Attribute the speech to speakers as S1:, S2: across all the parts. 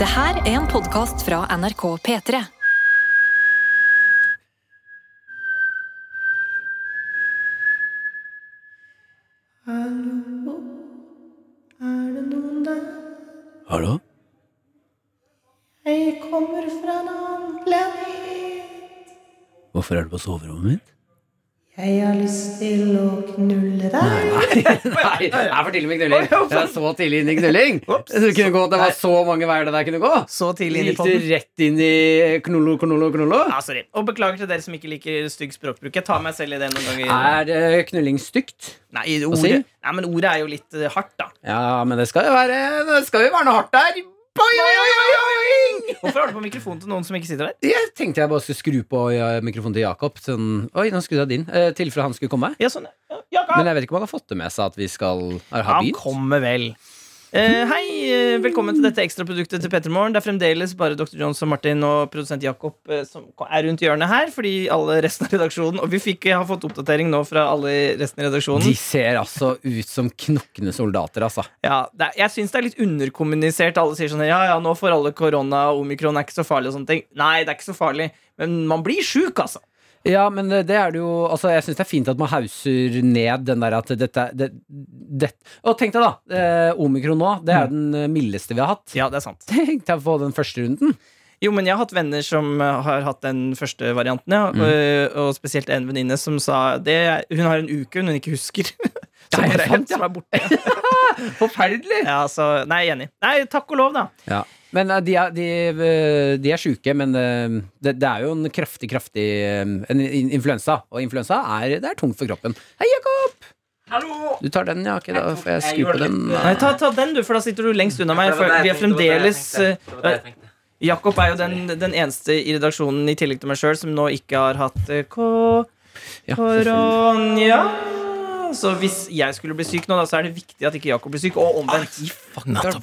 S1: Det her er en podkast fra NRK P3.
S2: Er det noen der?
S3: Hallo?
S2: Jeg kommer fra en annen planet.
S3: Hvorfor er du på soverommet mitt?
S2: Jeg har lyst til å knulle deg.
S4: Nei, det er for tidlig med knulling. Det er så tidlig inn i knulling. Det, kunne gå, det var så mange veier det der kunne gå.
S5: Så tidlig inn i
S4: Gikk du
S5: podden.
S4: rett inn i knollo, knollo, knollo?
S5: Ja, Ah, sorry. Og beklager til dere som ikke liker stygg språkbruk. Jeg tar meg selv i det noen ganger.
S4: Er eh, knulling stygt?
S5: Nei,
S4: Hva sier
S5: ordet,
S4: du?
S5: nei, men ordet er jo litt eh, hardt, da.
S4: Ja, men det skal jo være Det skal jo være noe hardt der. Boing, boing, boing, boing.
S5: Hvorfor har du på mikrofonen til noen som ikke sitter der?
S4: Jeg tenkte jeg bare skulle skru på ja, mikrofonen til Jakob. Sånn, Oi, nå skrudde jeg din. eh, Tilfelle han skulle komme.
S5: Ja, sånn. ja. Jakob!
S4: Men jeg vet ikke om han har fått det med seg at vi skal ha
S5: Han
S4: begynt.
S5: kommer vel. Eh, hei, eh, velkommen til dette ekstraproduktet til Petermorgen. Det er fremdeles bare Dr. Jones og Martin og produsent Jakob eh, som er rundt hjørnet her, fordi alle resten av redaksjonen Og vi fikk, har fått oppdatering nå fra alle i resten av redaksjonen.
S4: De ser altså ut som knokne soldater, altså.
S5: Ja, det er, jeg syns det er litt underkommunisert. Alle sier sånn Ja, ja, nå får alle korona, omikron er ikke så farlig og sånne ting. Nei, det er ikke så farlig, men man blir sjuk, altså.
S4: Ja, men det det er det jo altså, Jeg syns det er fint at man hauser ned den der at dette det, det. Og tenk deg, da. Eh, omikron nå. Det er den eh, mildeste vi har hatt.
S5: Ja, det er sant.
S4: Tenk deg på den første runden.
S5: Jo, men jeg har hatt venner som eh, har hatt den første varianten, ja. Og, og spesielt en venninne som sa det er- Hun har en uke hun ikke husker. Som
S4: Det er
S5: bare
S4: sant,
S5: som er borte.
S4: Forferdelig!
S5: Ja, så Nei, jeg er enig. Nei, takk og lov, da.
S4: Ja. Men eh, de er, de, eh, de er sjuke, men eh, det, det er jo en kraftig, kraftig eh, en in- influensa. Og influensa er, det er tungt for kroppen. Hei, Jakob! Du tar den, ja. Ok, da får jeg eh, skru på den.
S5: Nei, ta, ta den, du, for da sitter du lengst unna meg. For vi er fremdeles eh, Jakob er jo den, den eneste i redaksjonen i tillegg til meg sjøl som nå ikke har hatt eh, ko-
S4: Ja,
S5: koronja. Så hvis jeg skulle bli syk nå, da, så er det viktig at ikke Jakob blir syk.
S4: Ah,
S5: Og omvendt.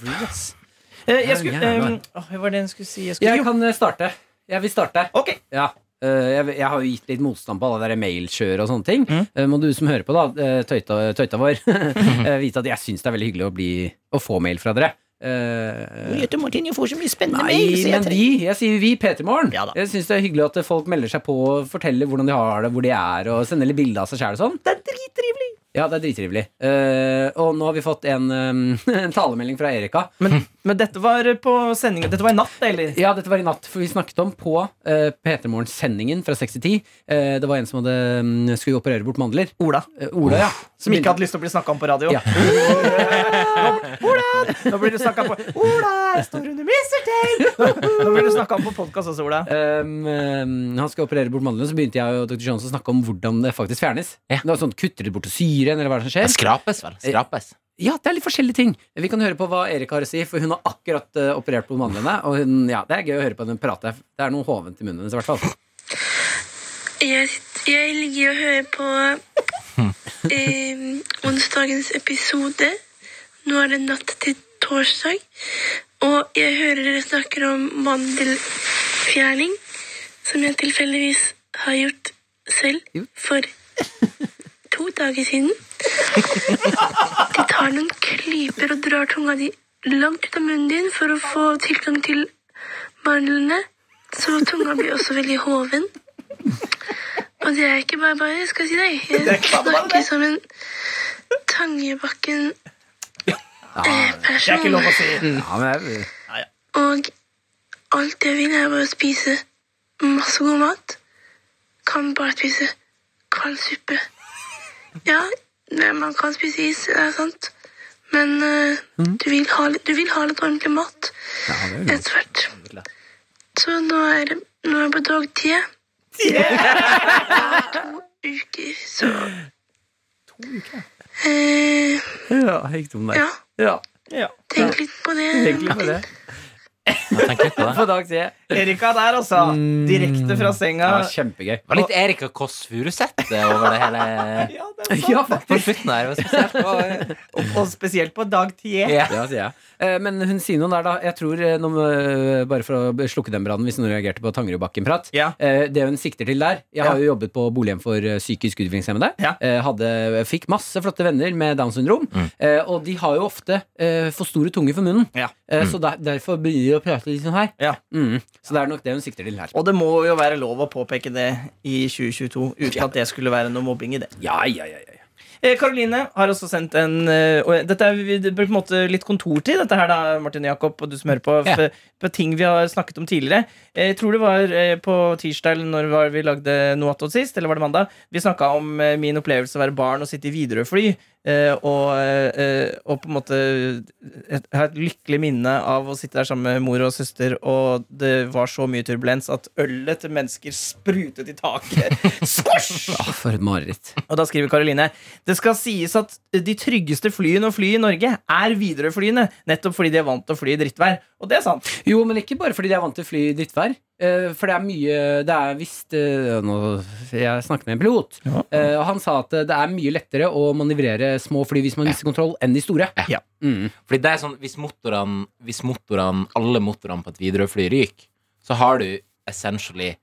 S5: Eh, jeg skulle, eh,
S4: Jævla.
S5: åh, hva var det jeg skulle si? Jeg skulle,
S4: Jeg kan eh, starte. Jeg vil starte.
S5: jo, ok,
S4: Ja. eh, jeg, jeg har jo gitt litt motstand på alle der mailkjør og sånne ting.
S5: Mm.
S4: Eh, må du som hører på, da, eh, tøyta, tøyta vår,
S5: Mm.
S4: eh, vite at jeg syns det er veldig hyggelig å, bli, å få mail fra dere. Eh,
S5: Jøte Martin, jeg får så mye spennende mail.
S4: nei,
S5: Så jeg
S4: men
S5: trenger
S4: vi, jeg sier vi, P3morgen.
S5: Ja da.
S4: jeg syns det er hyggelig at folk melder seg på og forteller hvordan de har det, hvor de er, og sender litt bilde av seg sjæl og sånn.
S5: Det er drittrivelig.
S4: Ja, det er drittrivelig. Eh, og nå har vi fått en, eh, en talemelding fra Erika.
S5: Men, men dette var på sendingen Dette var i natt, eller?
S4: Hm. Ja, dette var i natt, for vi snakket om på uh, P3 Morgen-sendingen fra 6 til 10. eh, det var en som hadde, mm, skulle operere bort mandler.
S5: Ola.
S4: Eh, Ola, ja.
S5: Som ikke hadde lyst til å bli snakka om på radio.
S4: Ja.
S5: Ola! Nå blir du snakka på Ola, jeg står under misteltein! Nå blir du snakka om på podkast også, Ola.
S4: Um, um, han skal operere bort mandlene, så begynte jeg og dr. Jones å snakke om hvordan det faktisk fjernes.
S6: Ja.
S4: Det var sånn, Kutter det bort til syren, eller hva er det som
S6: Ja,
S4: skjer? Eh,
S6: Skrapes, vel. Skrapes.
S4: Ja, det er litt forskjellige ting. Vi kan høre på hva Erik har å si, for hun har akkurat eh, operert på mandlene. Og hun, ja, det er gøy å høre på henne prate. Det er noe hovent i munnen hennes, i hvert fall.
S7: Jeg, jeg ligger og hører på eh, onsdagens episode. Nå er det natt til torsdag. Og jeg hører dere snakker om mandelfjerning, som jeg tilfeldigvis har gjort selv for to dager siden. De tar noen klyper og drar tunga di langt ut av munnen din for å få tilgang til mandlene. Så tunga blir også veldig hoven. Og det er ikke bare bare, skal jeg si deg. Jeg snakker som en Tangebakken eh,
S5: Det er ikke
S7: person.
S5: lov å si.
S4: Ja, men jeg,
S7: Og alt jeg vil, er bare å spise masse god mat. Kan bare spise kald suppe. Ja, men man kan spise is, det er sant. Men eh, du, vil ha, litt- du vil ha litt ordentlig mat etter hvert. Så nå er det nå er det på dag ti. To uker, så To uker? Eh,
S4: ja, jeg gikk tom der.
S7: ja,
S4: Ja,
S5: Ja.
S7: tenk litt på det.
S4: egentlig på det.
S6: Jeg tenker litt på det.
S4: På dag tre.
S5: Erika der, altså. Direkte fra senga.
S4: Mm. Ja, kjempegøy.
S6: Det var litt Erika Kåss Furuseth eh, over det hele
S5: Ja, det er sant.
S4: Ja, faktisk.
S6: på slutten her. det var spesielt.
S5: Og, og spesielt på dag ti.
S6: Ja.
S4: Ja, sier jeg. Eh, Men hun sier noe der, da. Jeg tror, eh, nå må- eh, Bare for å slukke den brannen, hvis noen reagerte på Tangerudbakken-prat.
S5: Ja.
S4: Eh, Det hun sikter til der Jeg har
S5: Ja.
S4: jo jobbet på bolighjem for eh, psykisk utviklingshemmede.
S5: Ja. Mm.
S4: Eh, Hadde, fikk masse flotte venner med Downs syndrom. Eh, Og de har jo ofte eh, for store tunger for munnen.
S5: Ja. Mm.
S4: Eh, Så der, derfor begynner de å prate litt sånn her.
S5: Ja.
S4: Mm. Så det er nok det hun sikter til her.
S5: Og det må jo være lov å påpeke det i 2022, uten at det skulle være noe mobbing i det.
S4: Ja, ja, ja, ja.
S5: Eh, Karoline har også sendt en eh, og Dette er vi- det blir på en måte litt kontortid, dette her, da, Martin og Jakob, og du som hører på,
S4: Ja.
S5: f- på ting vi har snakket om tidligere. Eh, Jeg tror det var eh, på tirsdag eller når var vi lagde noe attåt sist, eller var det mandag? Vi snakka om eh, min opplevelse av å være barn og sitte i Widerøe-fly. eh, Og, eh, og på en måte et, ha et lykkelig minne av å sitte der sammen med mor og søster, og det var så mye turbulens at ølet til mennesker sprutet i taket. Skosj!
S4: Å, for et mareritt.
S5: Og da skriver Karoline Det skal sies at de tryggeste flyene å fly i Norge er Widerøe-flyene, nettopp fordi de er vant til å fly i drittvær. Og det er sant.
S4: Jo, men ikke bare fordi de er vant til å fly i drittvær. Eh, for det er mye Det er visst eh, nå, Jeg snakket med en pilot,
S5: Ja.
S4: eh, og han sa at eh, det er mye lettere å manøvrere små fly hvis man mister kontroll, enn de store.
S5: Ja.
S4: Mm.
S6: Fordi det er sånn, hvis motorene, hvis motorene alle motorene på et Widerøe-fly ryker, så har du essentially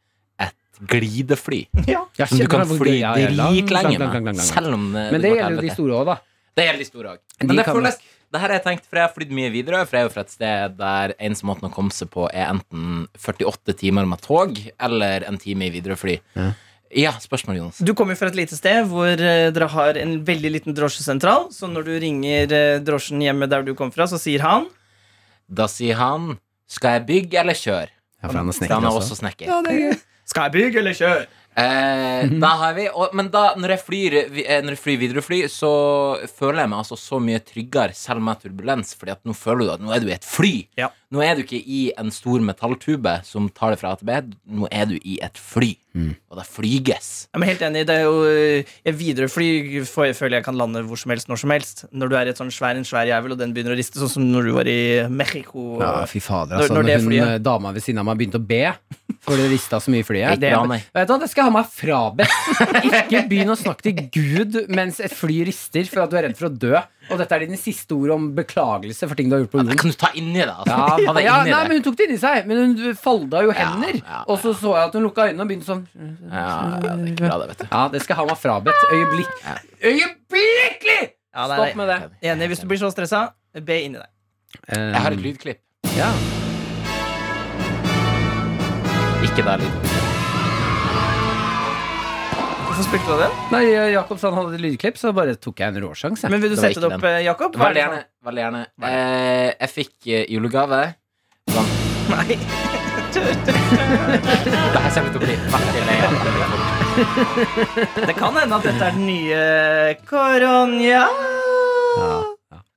S6: et glidefly.
S4: Jeg
S6: Som du
S4: kjenner
S6: kan
S4: meg hvor
S6: fly
S4: gøy jeg er. Lang, lang,
S6: dritlenge
S4: lang, lang, lang,
S6: med.
S4: lang.
S6: Selv om eh, det,
S4: Men det gjelder jo de store òg, da.
S6: Det gjelder de store òg.
S4: De
S6: Men det
S4: kan
S6: føles det her har jeg tenkt, for jeg har flydd mye Widerøe. For jeg er jo fra et sted der eneste måten å komme seg på, er enten 48 timer med tog eller en time i Widerøe-fly. Ja. spørsmål, Jonas.
S5: Du kommer jo fra et lite sted hvor eh, dere har en veldig liten drosjesentral, så når du ringer eh, drosjen hjemme der du kommer fra, så sier han
S6: Da sier han Skal jeg bygge eller kjøre?
S4: Ja, for han er altså.
S6: For han er også snekker.
S5: Skal jeg bygge eller kjøre?
S6: Eh, da har vi og, Men da, når jeg flyr, vi- eh, når jeg flyr videre fly, så føler jeg meg altså så mye tryggere, selv med turbulens, Fordi at nå føler du at nå er du i et fly.
S5: Ja.
S6: Nå er du ikke i en stor metalltube som tar deg fra A til B. Nå er du i et fly,
S4: Mm.
S6: og det flyges.
S5: Jeg er helt enig, det er jo eh, jeg Widerøe-fly får- jeg føler jeg kan lande hvor som helst, når som helst. Når du er i et sånn svær, en svær jævel, og den begynner å riste, sånn som når du var i Mexico.
S4: Ja, fy fader,
S5: Når-
S4: altså.
S5: når
S4: Når,
S5: det
S4: hun
S5: flyet-
S4: eh, dama ved siden av meg begynte å be, for det rista så mye i flyet.
S6: Ikke bra, nei.
S4: Vet du hva, det skal jeg ha meg frabedt. Ikke begynn å snakke til Gud mens et fly rister for at du er redd for å dø. Og dette er dine siste ord om beklagelse for ting du har gjort på
S6: Det
S4: jorden.
S6: kan du ta inni deg. Altså.
S4: Mm. Ja,
S6: Ta det
S4: ja,
S6: inni
S4: nei,
S6: deg.
S4: men Hun tok det inni seg, men hun folda jo hender.
S6: ja, ja.
S4: Og så så jeg at hun lukka øynene og begynte sånn.
S6: ja, ja, det er ikke bra, det, vet du.
S4: Ja, det skal jeg ha meg frabedt. Øyeblikk. Øyeblikkelig!
S5: Ja, det er-
S4: Stopp med det.
S5: Enig, hvis du blir så stressa, be inni deg.
S6: Jeg har et lydklipp.
S4: Ja.
S6: Ikke der lyd.
S5: Hvorfor spilte du av den?
S4: Ehm, Nei, Jakob sa han hadde lydklipp, så bare tok jeg en råsjanse.
S5: Men vil du
S6: Det var
S5: sette
S6: ikke
S5: det opp, eh, Jakob? Hva er
S6: Veldig
S5: det
S6: gjerne. Veldig gjerne. Eh, jeg fikk eh, julegave. Sånn.
S5: for noe? Nei.
S6: Det her kommer til å bli veldig lei av.
S5: Det kan hende at dette er den nye Koronja.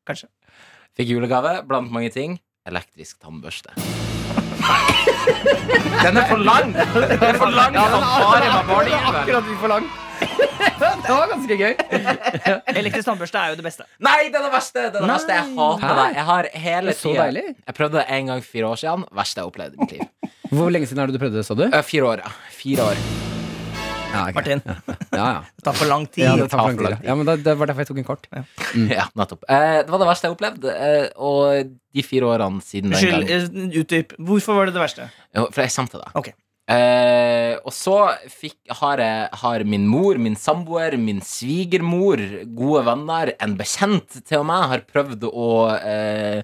S5: Kanskje.
S6: Fikk julegave blant mange ting. Elektrisk tannbørste. Den er for lang! Den er for lang fanfare med barnejulen.
S4: akkurat litt for lang. det var ganske gøy.
S5: Elektrisk tannbørste er jo det beste.
S6: Nei, det er det verste! Det er det verste. Jeg hater det.
S4: Hæ?
S6: Jeg har hele
S4: Det er så
S6: tiden
S4: deilig.
S6: Jeg prøvde det en gang for fire år siden. Verste jeg opplevde i mitt liv.
S4: Hvor lenge siden er det du prøvde det, sa du?
S6: Ø, Fire år, ja. Fire år.
S4: Ja, ok.
S5: Martin,
S4: Ja, ja.
S5: det tar for lang tid.
S4: Ja, det tar
S6: tar
S4: for lang
S6: for
S4: tid.
S6: lang
S4: ja. Ja, men det, det var derfor jeg tok en kort.
S6: Ja, nettopp. Eh, det var det verste jeg opplevde. Eh, og de fire årene siden den
S5: Unnskyld,
S6: gang
S5: eh, utdyp. Hvorfor var det det verste?
S6: Jo, For jeg kommer til det.
S5: Ok.
S6: Eh, og så fikk, har, jeg, har min mor, min samboer, min svigermor, gode venner, en bekjent til og med, har prøvd å eh,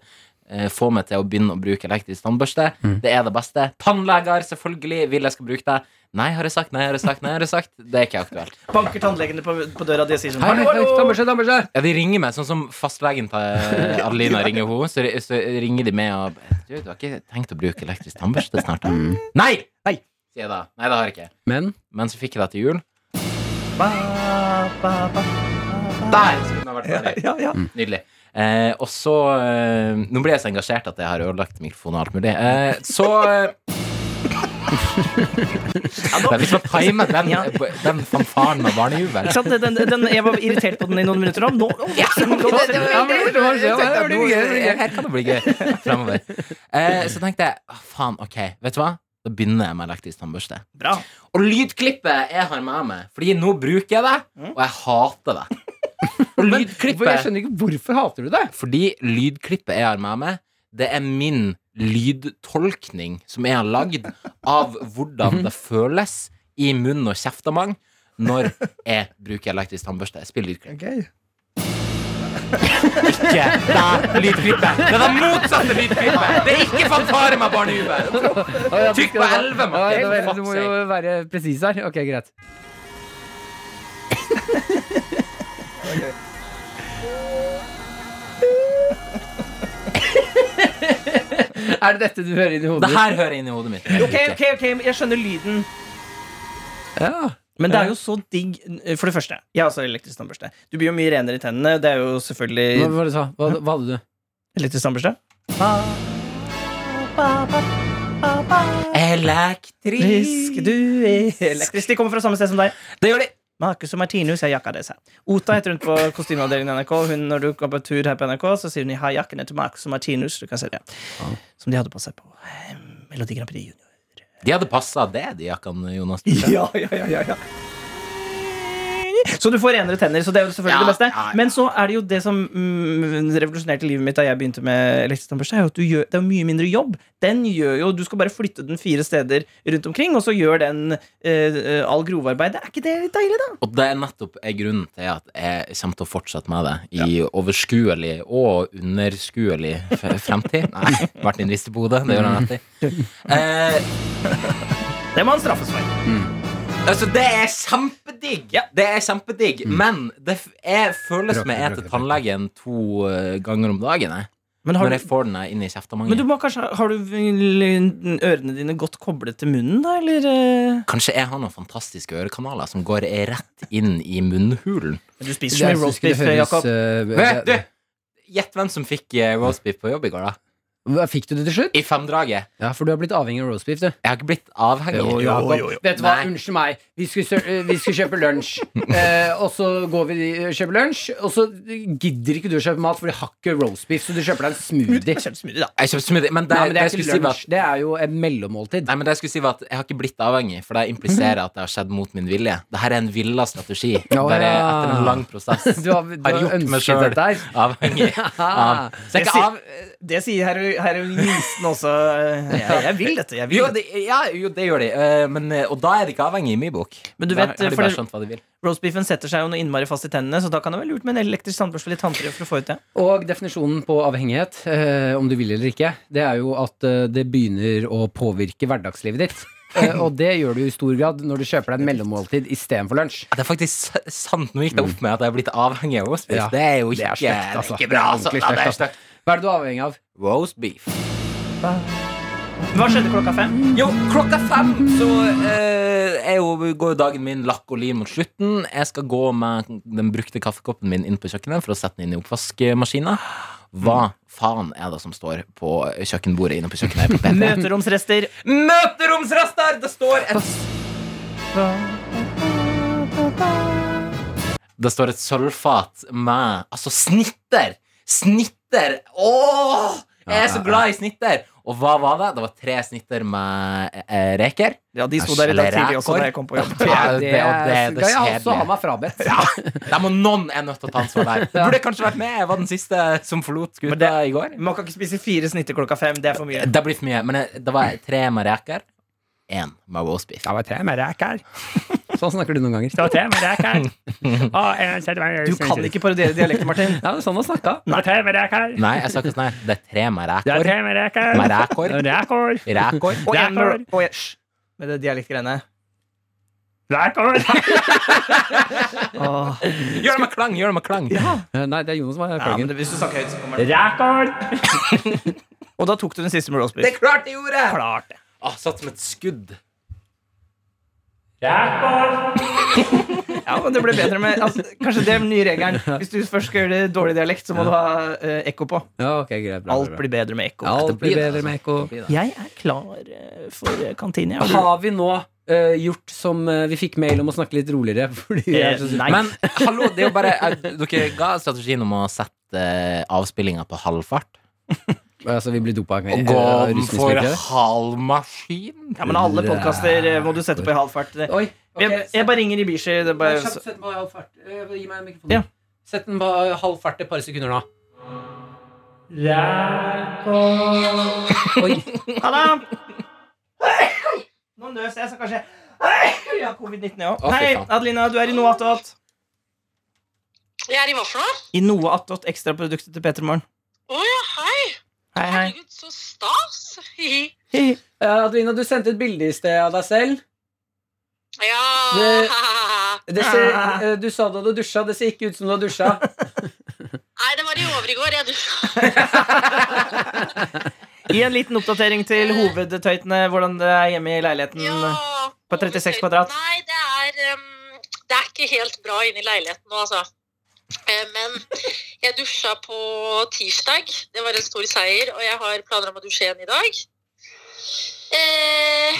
S6: eh, få meg til å begynne å bruke elektrisk tannbørste. Det er det beste. Tannleger, selvfølgelig, vil jeg skal bruke det. Nei, har jeg sagt. Nei, har jeg sagt. Nei, har jeg sagt. Det er ikke aktuelt.
S5: Banker tannlegene på, på døra di og sier sånn
S4: Hei, hei,
S5: Hallo,
S4: hei,
S5: hallo!
S4: tannbørste, tannbørste!
S6: Ja, de ringer meg, sånn som fastlegen til eh, Adelina ringer henne. Så, så ringer de med og Du, du har ikke tenkt å bruke elektrisk tannbørste snart? da?»
S5: Mm.
S6: Nei!
S5: Nei.
S6: Sier jeg da. Nei, det har jeg ikke.
S4: Men
S6: Men så fikk jeg det til jul.
S5: Ba, ba, ba.
S6: Der skulle den ha vært ferdig. Mm.
S5: Ja, ja.
S6: Nydelig. Eh, og så eh, Nå blir jeg så engasjert at jeg har ødelagt mikrofonen og alt mulig. Eh, så eh, ja, Hvis man timer den,
S5: Ja.
S6: den fanfaren med barnejuvel
S5: Ikke sant? Den, den, jeg var irritert på den i noen minutter. Nå, nå,
S4: Ja, men det var- det var- det var- det var gøy.
S6: Her kan det bli gøy fremover. Eh, så tenkte jeg «Å, faen, ok, vet du hva? Da begynner jeg med elektrisk tannbørste.
S5: Bra.
S6: Og lydklippet jeg har med meg, fordi nå bruker jeg det, og jeg hater det. Og Og
S4: Men hvorfor- jeg
S6: lydklippet
S4: skjønner ikke hvorfor hater du det?
S6: Fordi lydklippet jeg har med meg, det er min lydtolkning som jeg har lagd av
S5: Mhm.
S6: hvordan det føles i munn og kjeftamang når jeg bruker elektrisk tannbørste. Jeg spiller lydklipp. Ikke det lydklippet! Det er det motsatte lydklippet! Det er ikke fanfare med Barne Uber! Trykk på 11,
S4: Ja,
S6: Martin!
S4: det var-
S6: Fuck
S4: du må
S6: sake.
S4: jo være presis her. Ok, greit. er det dette du hører inn i hodet?
S6: Det her hører inn i hodet mitt.
S5: Ok, ok, ok, jeg skjønner lyden.
S4: Ja.
S5: Men det er jo så digg eh, For det første, jeg har også elektrisk tannbørste. Du blir jo mye renere i tennene. Det er jo
S4: Hva
S5: selvfølgelig
S4: var det du sa? Hva, hva hadde du?
S5: elektrisk tannbørste.
S6: Elektrisk
S5: Frisk du er elektrisk. De kommer fra samme sted som deg.
S6: Det gjør de!
S5: Marcus og Martinus har jakka deres. Ota heter hun på kostymeavdelingen i NRK. Hun, når du går på tur her på NRK, så sier hun 'Jeg har jakkene til Marcus og Martinus'. Du kan se det. Som de hadde på seg på eh, Melodi Grand Prix Junior.
S6: De hadde passa det, de jakkene, Jonas.
S5: Ja, ja, ja, ja, ja. Så du får renere tenner, så det er jo selvfølgelig
S6: Ja,
S5: det beste.
S6: ja, ja.
S5: Men så er det jo det som mm, revolusjonerte livet mitt da jeg begynte med elektrisk tannbørste, er jo at du gjør, det er jo mye mindre jobb. Den gjør jo, Du skal bare flytte den fire steder rundt omkring, og så gjør den eh, eh, all grovarbeid. Er ikke det litt deilig, da?
S6: Og det er nettopp er grunnen til at jeg kommer til å fortsette med det i overskuelig og underskuelig f- fremtid. Nei, Martin rister på hodet. Det gjør han rett i. Eh,
S5: Det må han straffes for.
S6: altså, det er kjempedigg!
S5: Ja. Mm.
S6: Det er kjempedigg, men det f jeg føler som jeg er til tannlegen to eh, ganger om dagen. Jeg,
S5: Men, har
S6: når jeg
S5: du,
S6: får den her inn i
S5: men du
S6: kjeftamangen.
S5: må kanskje, har du vel ørene dine godt koblet til munnen, da, eller? eh?
S6: Kanskje jeg har noen fantastiske ørekanaler som går rett inn i munnhulen.
S5: Du spiser så mye roast beef, Jakob.
S6: eh,
S4: eh,
S6: Vet du, Gjett hvem som fikk eh, roast beef på jobb i går, da?
S4: Hva Fikk du det til slutt?
S6: I femdraget.
S4: Ja, for du har blitt avhengig av roast beef, du.
S6: Jeg har ikke blitt avhengig.
S4: Jo, Jakob. Vet du hva,
S6: Nei.
S4: unnskyld meg. Vi skulle, sø- eh, vi skulle kjøpe lunsj. Eh, og så går vi eh, kjøper lunsj, og så gidder ikke du å kjøpe mat, for de har ikke roast beef, så du kjøper deg en smoothie.
S5: Kjøp smoothie, da.
S6: Jeg kjøpte smoothie, men det,
S4: Nei, men det er
S6: det, jeg
S4: ikke
S6: skulle si var
S4: lunsj.
S6: at,
S4: Det er jo et mellommåltid.
S6: nei, men det jeg skulle si var at jeg har ikke blitt avhengig, for det impliserer at det har skjedd mot min vilje. Dette er en villa strategi.
S4: Ja.
S6: Bare etter en lang prosess.
S4: Du har, du
S6: Har
S4: har
S6: gjort meg
S4: ønsket
S6: selv
S4: dette her. Ah.
S6: Avhengig av Så jeg er
S5: Jeg
S6: ikke
S5: sier-
S6: av...
S5: Det sier hero- heroinisten også. eh, Jeg, jeg vil dette. jeg vil
S6: Jo,
S5: dette.
S6: det, ja, jo, det gjør de, eh, men, eh, og da er de ikke avhengig i min bok.
S5: Men du
S6: Da
S5: vet,
S6: har de
S5: for
S6: bare
S5: det-
S6: skjønt hva de vil.
S5: Roastbeefen setter seg jo noe innmari fast i tennene, så da kan det være lurt med en elektrisk tannbørste og litt tannkrem for å få ut det.
S4: Og definisjonen på avhengighet, eh, om du vil eller ikke, det er jo at eh, det begynner å påvirke hverdagslivet ditt. Eh, og det gjør du i stor grad når du kjøper deg et mellommåltid istedenfor lunsj.
S6: Det er faktisk s- sant. Nå gikk det opp med at jeg er blitt avhengig av roast beef.
S4: Ja.
S6: Det er jo
S4: Det
S6: ikke,
S4: er stygt, altså.
S6: ikke bra.
S4: Det er
S6: Altså.
S4: ordentlig
S6: Ja, det er
S4: stygt, altså.
S6: stygt.
S4: Hva er det du er avhengig av?
S6: Roast beef.
S5: Hva skjedde klokka fem?
S6: Jo, klokka fem så eh, er jo, går jo dagen min lakk og lim mot slutten. Jeg skal gå med den brukte kaffekoppen min inn på kjøkkenet for å sette den inn i oppvaskmaskina. Hva faen er det som står på kjøkkenbordet inne på kjøkkenet? her på PT?
S5: Møteromsrester.
S6: Møteromsrester! Det står et Det står et sølvfat med Altså, snitter! Snitter! Åh! Jeg er så glad i snitter! Og hva var det? Det var tre snitter med eh, reker.
S5: Ja, de sto der i dag
S6: Eller
S5: tidlig også da jeg kom på jobb.
S6: Ja, det- og det er
S4: skal
S6: det
S4: jeg også ha
S6: kjedelige.
S4: meg frabedt.
S6: Ja, Der må noen er nødt til å ta ansvar der. Du burde kanskje vært med. Jeg var den siste som forlot skuta
S5: Men det-
S6: i går.
S5: Man kan ikke spise fire snitter klokka fem. Det er for mye.
S6: Det blir for mye. Men eh, det var tre med reker. Én med roast beef.
S4: Det var tre med ræk her. Sånn snakker du noen ganger.
S8: Så tre med rek her. Og en servering.
S5: Du kan ikke parodiere dialekter, Martin.
S4: Ja, det er sånn han snakka.
S8: Nei. Tre med rek her.
S6: Nei, jeg sa ikke sånn. her. Det er tre med
S8: Det er
S6: reker.
S8: tre med rek her.
S6: Med rækår.
S8: Rekord.
S6: Rækår.
S5: Og en
S8: Rækår.
S5: med, og en- hysj, med det dialektgreiene.
S8: Rekord.
S5: Åh.
S6: Gjør det med klang! Gjør det med klang.
S4: Eh, Nei, det er Jonas som er
S5: Ja, men
S4: klangen.
S5: det, hvis du snakker høyt, så kommer det.
S8: Rekord.
S5: Og da tok du den siste med roast
S6: Det
S5: beef.
S6: er klart jeg gjorde!
S5: Klart det.
S6: Ah, satt som et skudd.
S8: Rekord.
S5: Ja, men det ble bedre med altså, Kanskje det er den nye regelen. Hvis du først skal gjøre det dårlig dialekt, så må du ha eh, ekko på.
S4: Ja, ok, greit. Bra,
S5: Alt
S4: bra, bra.
S5: blir bedre med ekko.
S4: Alt blir bedre med ekko.
S5: Jeg er klar eh, for eh, kantine. jeg.
S4: Har vi nå eh, gjort som eh, vi fikk mail om å snakke litt roligere? Fordi vi er
S5: Eh,
S4: så
S5: nei.
S6: Men hallo, det er jo bare eh, Dere ga strategien om å sette eh, avspillinga på halvfart.
S4: Altså, vi blir dopa.
S6: Og gå for halvmaskin.
S5: ja, men alle podkaster eh, må du sette på i halv fart. Det-
S4: Oi, ok.
S5: Jeg, jeg bare ringer Ibishi. Det er bare,
S4: Kjapt, sett på halv fart. Eh, Gi meg mikrofonen.
S5: Ja.
S4: Sett den på halv fart et par sekunder nå. Oi.
S5: Ha det! sånn. Nå nøs jeg, så kanskje Jeg har covid-19, jeg òg.
S6: Å, fy
S5: Hei,
S6: faen.
S5: Adelina, du er i noe attåt.
S9: Jeg er i hva for noe?
S5: I noe attåt ekstraproduktet til Peter Morgen.
S9: Å ja, hei!
S5: Hei, hei.
S9: Herregud, så stas! Hihi.
S5: Hei.
S4: Ja, Eh, Adelina, du sendte et bilde i sted av deg selv.
S9: Ja
S4: Det-
S9: Nei,
S4: Det ser,
S5: Ah.
S4: eh, du sa du hadde dusja. Det ser ikke ut som du har dusja.
S9: det var i overgård. Jeg dusja.
S5: Gi en liten oppdatering til hovedtøytene, hvordan det er hjemme i leiligheten.
S9: Ja,
S5: På 36 kvadrat.
S9: Nei, det er, um, det er ikke helt bra inne i leiligheten nå, altså. Eh, Men jeg dusja på tirsdag. Det var en stor seier, og jeg har planer om å dusje igjen i dag. Eh,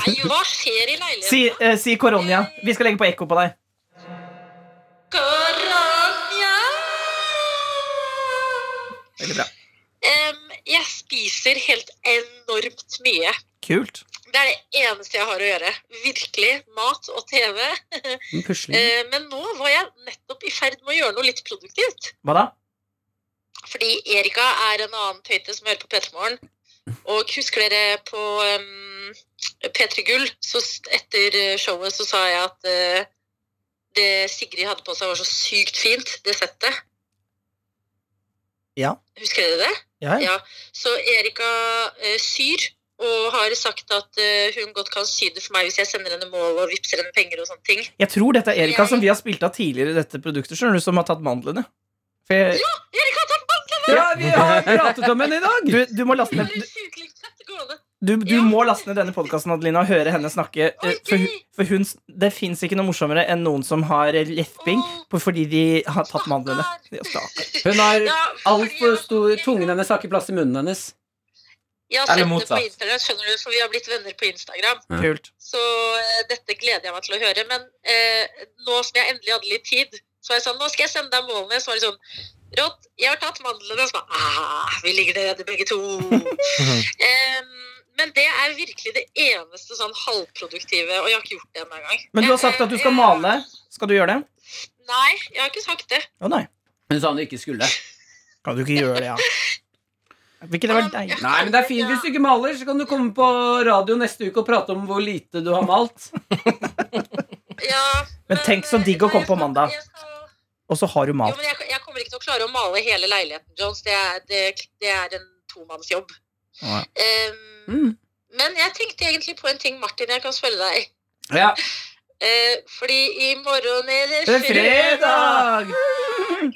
S9: nei, hva skjer i leiligheten?
S5: Si, eh, si koronia. Vi skal legge på ekko på deg.
S9: Koronia!
S5: Veldig bra.
S9: Em, jeg spiser helt enormt mye.
S5: Kult.
S9: Det er det eneste jeg har å gjøre. Virkelig. Mat og TV.
S4: En pusling.
S9: Eh, Men nå var jeg nettopp i ferd med å gjøre noe litt produktivt.
S5: Hva da?
S9: Fordi Erika er en annen tøyte som hører på P3morgen. Og husker dere på em, P3 Gull, så s- etter eh, showet så sa jeg at eh, det Sigrid hadde på seg var så sykt fint, det settet.
S5: Ja.
S9: Husker dere det?
S5: Ja,
S9: Ja. Så Erika eh, syr, og har sagt at eh, hun godt kan sy det for meg hvis jeg sender henne mål og vippser henne penger og sånne ting.
S5: Jeg tror dette er Erika som vi har spilt av tidligere i dette produktet, skjønner du, som har tatt mandlene. For jeg,
S9: Erika, ta banken!
S4: Ja, vi har pratet om henne i dag!
S5: du, du må laste
S9: Det
S5: ned
S9: er det sjukeste settet gående.
S5: Du, du
S9: Ja.
S5: må laste ned denne podkasten og høre henne snakke. eh,
S9: Ok.
S5: For, hun- for hun, s- det fins ikke noe morsommere enn noen som har lefping
S9: Åh.
S5: på- fordi de har tatt mandlene. Ja, stakkar.
S4: Hun har
S9: Ja,
S4: altfor
S9: fordi-
S4: stor Tungen hennes har ikke plass i munnen hennes.
S9: Jeg har
S6: Eller
S9: sett det på
S6: motsatt.
S9: Instagram, skjønner du, for vi har blitt venner på Instagram.
S5: Kult.
S9: Så eh, dette gleder jeg meg til å høre. Men eh, nå som jeg endelig hadde litt tid, så var jeg sånn Nå skal jeg sende deg målene. Så var det sånn Rått, jeg har tatt mandlene. Og så bare ah, Vi ligger nede begge to. Em, men det er virkelig det eneste sånn halvproduktive, og jeg har ikke gjort det ennå engang.
S5: Men du har sagt at du skal
S9: Eh,
S5: male. Skal du gjøre det?
S9: Nei, jeg har ikke sagt det.
S5: Å nei.
S4: Hun sa hun ikke skulle.
S5: Kan du ikke gjøre det, ja? Vil ikke det
S9: Um,
S5: være deilig?
S4: Nei, men det er fint hvis du ikke maler, så kan du komme på radio neste uke og prate om hvor lite du har malt.
S9: Ja,
S5: Men tenk så
S9: eh,
S5: digg å
S9: nei,
S5: komme
S9: jeg
S5: på
S9: skal-
S5: mandag.
S9: jeg skal-
S5: Og så har du
S9: Jo,
S5: malt.
S9: men jeg, jeg kommer ikke til å klare å male hele leiligheten, Jones. Det er, det, det er en tomannsjobb.
S5: Ja.
S9: Ehm, Men jeg tenkte egentlig på en ting, Martin, jeg kan spørre deg.
S4: Ja.
S9: Eh, fordi i morgen er det
S4: Det er fredag!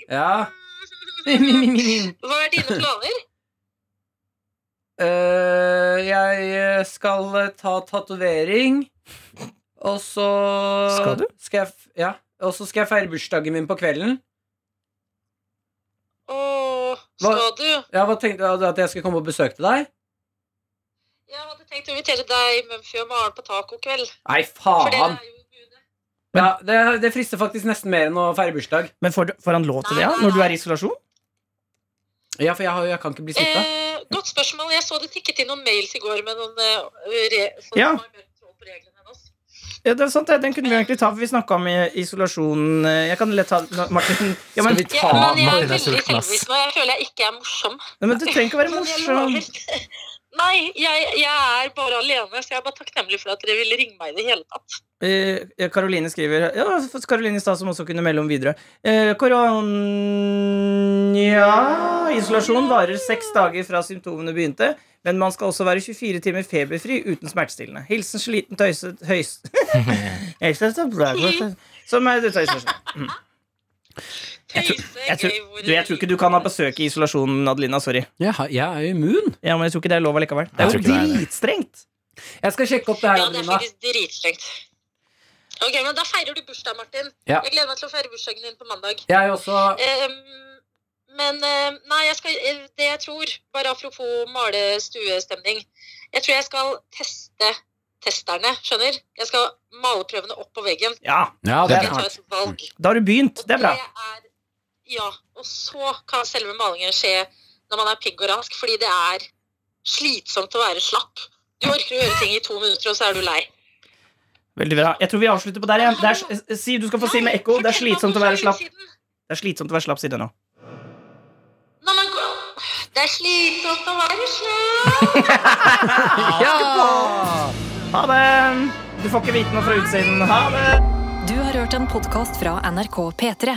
S4: Ja.
S9: Hva er dine planer?
S4: Eh, jeg eh, skal eh, ta tatovering. Og så
S5: Skal du?
S4: Skal jeg, f- ja. Og så skal jeg feire bursdagen min på kvelden.
S9: Åh,
S4: Hva-
S9: skal du?
S4: Ja, hva tenkte du? At jeg skal komme og besøke til deg?
S9: Jeg hadde tenkt å invitere deg, Mumphy og Maren på tacokveld.
S4: Nei,
S9: For dere
S4: faen!
S9: er jo gudene.
S4: Ja, det, det frister faktisk nesten mer enn å feire bursdag.
S5: Men får, du- får han lov til det, ja? Når du er i isolasjon?
S4: Ja, for jeg, har, jeg kan ikke bli smitta.
S9: Eh, godt spørsmål. Jeg så det tikket inn noen mails i går med noen eh, re, folk
S5: Ja.
S9: som har mer tråd på reglene enn oss.
S5: Ja, det er sant, det. Den kunne vi egentlig ta, for vi snakka om i- isolasjon eh, Jeg kan lett ta Martin. Ja, men,
S4: Skal vi
S9: Ja,
S4: ta
S9: men jeg er
S6: Martin er
S9: veldig
S6: sulten, ass.
S9: selvbevisst nå. Jeg føler jeg ikke er morsom.
S5: ja, men du trenger ikke å være
S9: Men jeg
S5: morsom.
S9: lover. Nei, jeg, jeg er bare alene, så jeg er bare takknemlig for at dere ville ringe meg i det hele tatt.
S5: Eh, Karoline skriver Ja, Karoline i stad som også kunne melde om videre. Eh, Koronia Isolasjon varer seks dager fra symptomene begynte, men man skal også være 24 timer feberfri uten smertestillende. Hilsen sliten tøyset høys... Jeg synes det er bra. Som er det tøyset. Jeg tror-
S9: Tøyse,
S5: Jeg tror,
S9: gøy, hvor-
S5: du, jeg tror ikke du kan ha besøk i isolasjonen, Adelina. Sorry.
S4: Jeg, har- jeg er immun.
S5: Ja, men jeg tror ikke det er lov allikevel. Det er
S6: Jeg tror
S5: jo
S6: ikke det er det.
S5: dritstrengt.
S4: Jeg skal sjekke opp det her,
S9: Ja, det er
S4: Adelina.
S9: faktisk dritstrengt. Ok, men da feirer du bursdag, Martin.
S4: Ja.
S9: Jeg gleder meg til å feire bursdagen din på mandag.
S4: Jeg er også
S9: Ehm, men eh, nei, jeg skal, eh, det jeg tror, bare apropos malestuestemning Jeg tror jeg skal teste testerne, skjønner? Jeg skal male prøvene opp på veggen.
S5: Ja,
S4: Ja,
S9: Jeg tar et valg.
S5: da har du begynt.
S9: Og
S5: Det er bra.
S9: er- ja, og så kan selve malingen skje når man er pigg og rask, fordi det er slitsomt å være slapp. Du orker å gjøre ting i to minutter, og så er du lei.
S5: eh, Veldig bra. Jeg tror vi avslutter på der, jeg. Det er, s- si, du skal få si med ekko. Det er slitsomt å være slapp. Det er slitsomt å være slapp, sier det nå.
S9: Når man går Det er slitsomt å være slapp.
S5: Ha det! Du får ikke vite noe fra utsiden. Ha det!
S1: Du har hørt en podkast fra NRK P3.